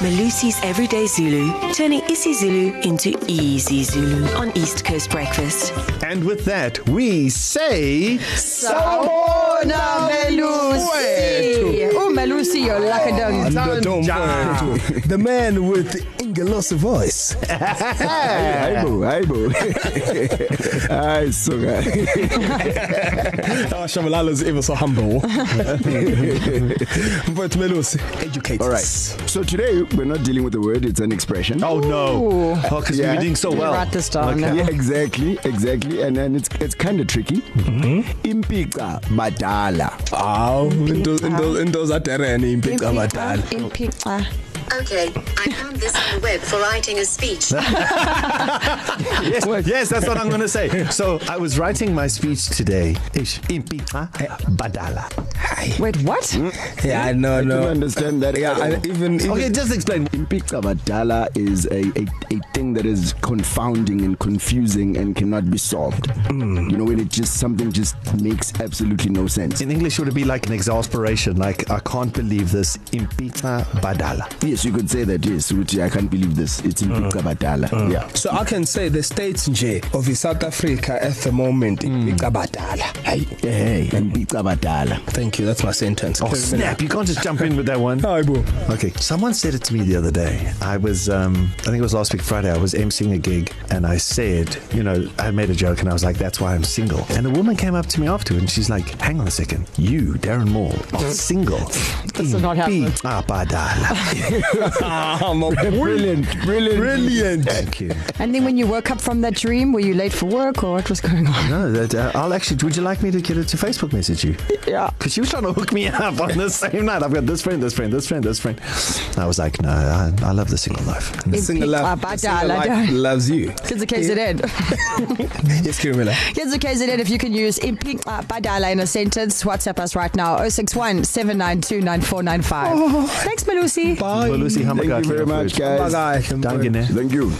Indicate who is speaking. Speaker 1: Malusi's Everyday Zulu, turning isiZulu into easy Zulu on East Coast Breakfast.
Speaker 2: And with that, we say
Speaker 3: Sawubona Melusi. Umelusi yolaka dong.
Speaker 2: Ndodombo.
Speaker 4: the man with the Ingelosi voice.
Speaker 5: hayibo hayibo hayi suka
Speaker 4: Ah, Shamalala is ever so humble. but Melusi, educate
Speaker 5: all right
Speaker 4: us.
Speaker 5: so today we're not dealing with a word it's an expression
Speaker 2: Oh no. Oh, cuz yeah. we
Speaker 5: Yeah.
Speaker 2: were doing so well.
Speaker 3: Write this down.
Speaker 5: Yeah,
Speaker 3: Okay.
Speaker 5: exactly, exactly, and then it's it's kind of tricky. Mm-hmm. Impica badala.
Speaker 4: Aw, into into into zaterene impica abadala.
Speaker 3: Impica.
Speaker 6: Okay, I found this on the web for writing a speech.
Speaker 2: Yes, yes, that's what I'm going to say. So, I was writing my speech today. Ish impika eh, badala.
Speaker 3: Wait, what?
Speaker 4: Yeah, I know,
Speaker 5: I no.
Speaker 4: no.
Speaker 5: understand that.
Speaker 4: Yeah, I, even, even
Speaker 2: Okay, just explain.
Speaker 5: Impica badala is a, a a thing that is confounding and confusing and cannot be solved. Mm. You know, when it just something just makes absolutely no sense.
Speaker 2: In English would it be like an exasperation like I can't believe this impika badala.
Speaker 5: Yes, you could say that. Yes, which I can't believe this. It's impica badala. Mm. Yeah.
Speaker 4: So I can say the states nje of South Africa at the moment impica badala. Hey,
Speaker 5: Hey, impica badala.
Speaker 4: thank you. That's my sentence.
Speaker 2: Oh snap, you can't just jump in with that one.
Speaker 4: Hayibo.
Speaker 2: Okay, someone said it to me the other day. I was, um, I think it was last week Friday. I was emceeing a gig, and I said, you know, I made a joke, and I was like, "That's why I'm single." And a woman came up to me afterward, and she's like, "Hang on a second, you, Darren Moore, are single."
Speaker 3: This is not happening.
Speaker 2: Abadala.
Speaker 5: Brilliant, brilliant,
Speaker 4: Ah, Brilliant.
Speaker 2: Thank you.
Speaker 3: And then when you woke up from that dream, were you late for work or what was going on?
Speaker 2: No, that uh, I'll actually. Would you like me to get it to Facebook message you?
Speaker 3: Yeah.
Speaker 2: Because she was trying to hook me up on the same night. I've got this friend, this friend, this friend, this friend. I was like, no, I, I love the single life.
Speaker 4: Single love.
Speaker 3: Impica
Speaker 4: the Single
Speaker 3: badala.
Speaker 4: life loves you.
Speaker 3: Kids of KZN.
Speaker 4: Yes, Kirmila.
Speaker 3: Kids of KZN, if you can use impica badala in a sentence, WhatsApp us right now 061 792 9495. Thanks, Malusi.
Speaker 2: Well, Lucy,
Speaker 5: Thank you very much, guys.
Speaker 4: Bye, guys.
Speaker 2: Dangine.
Speaker 5: Thank you.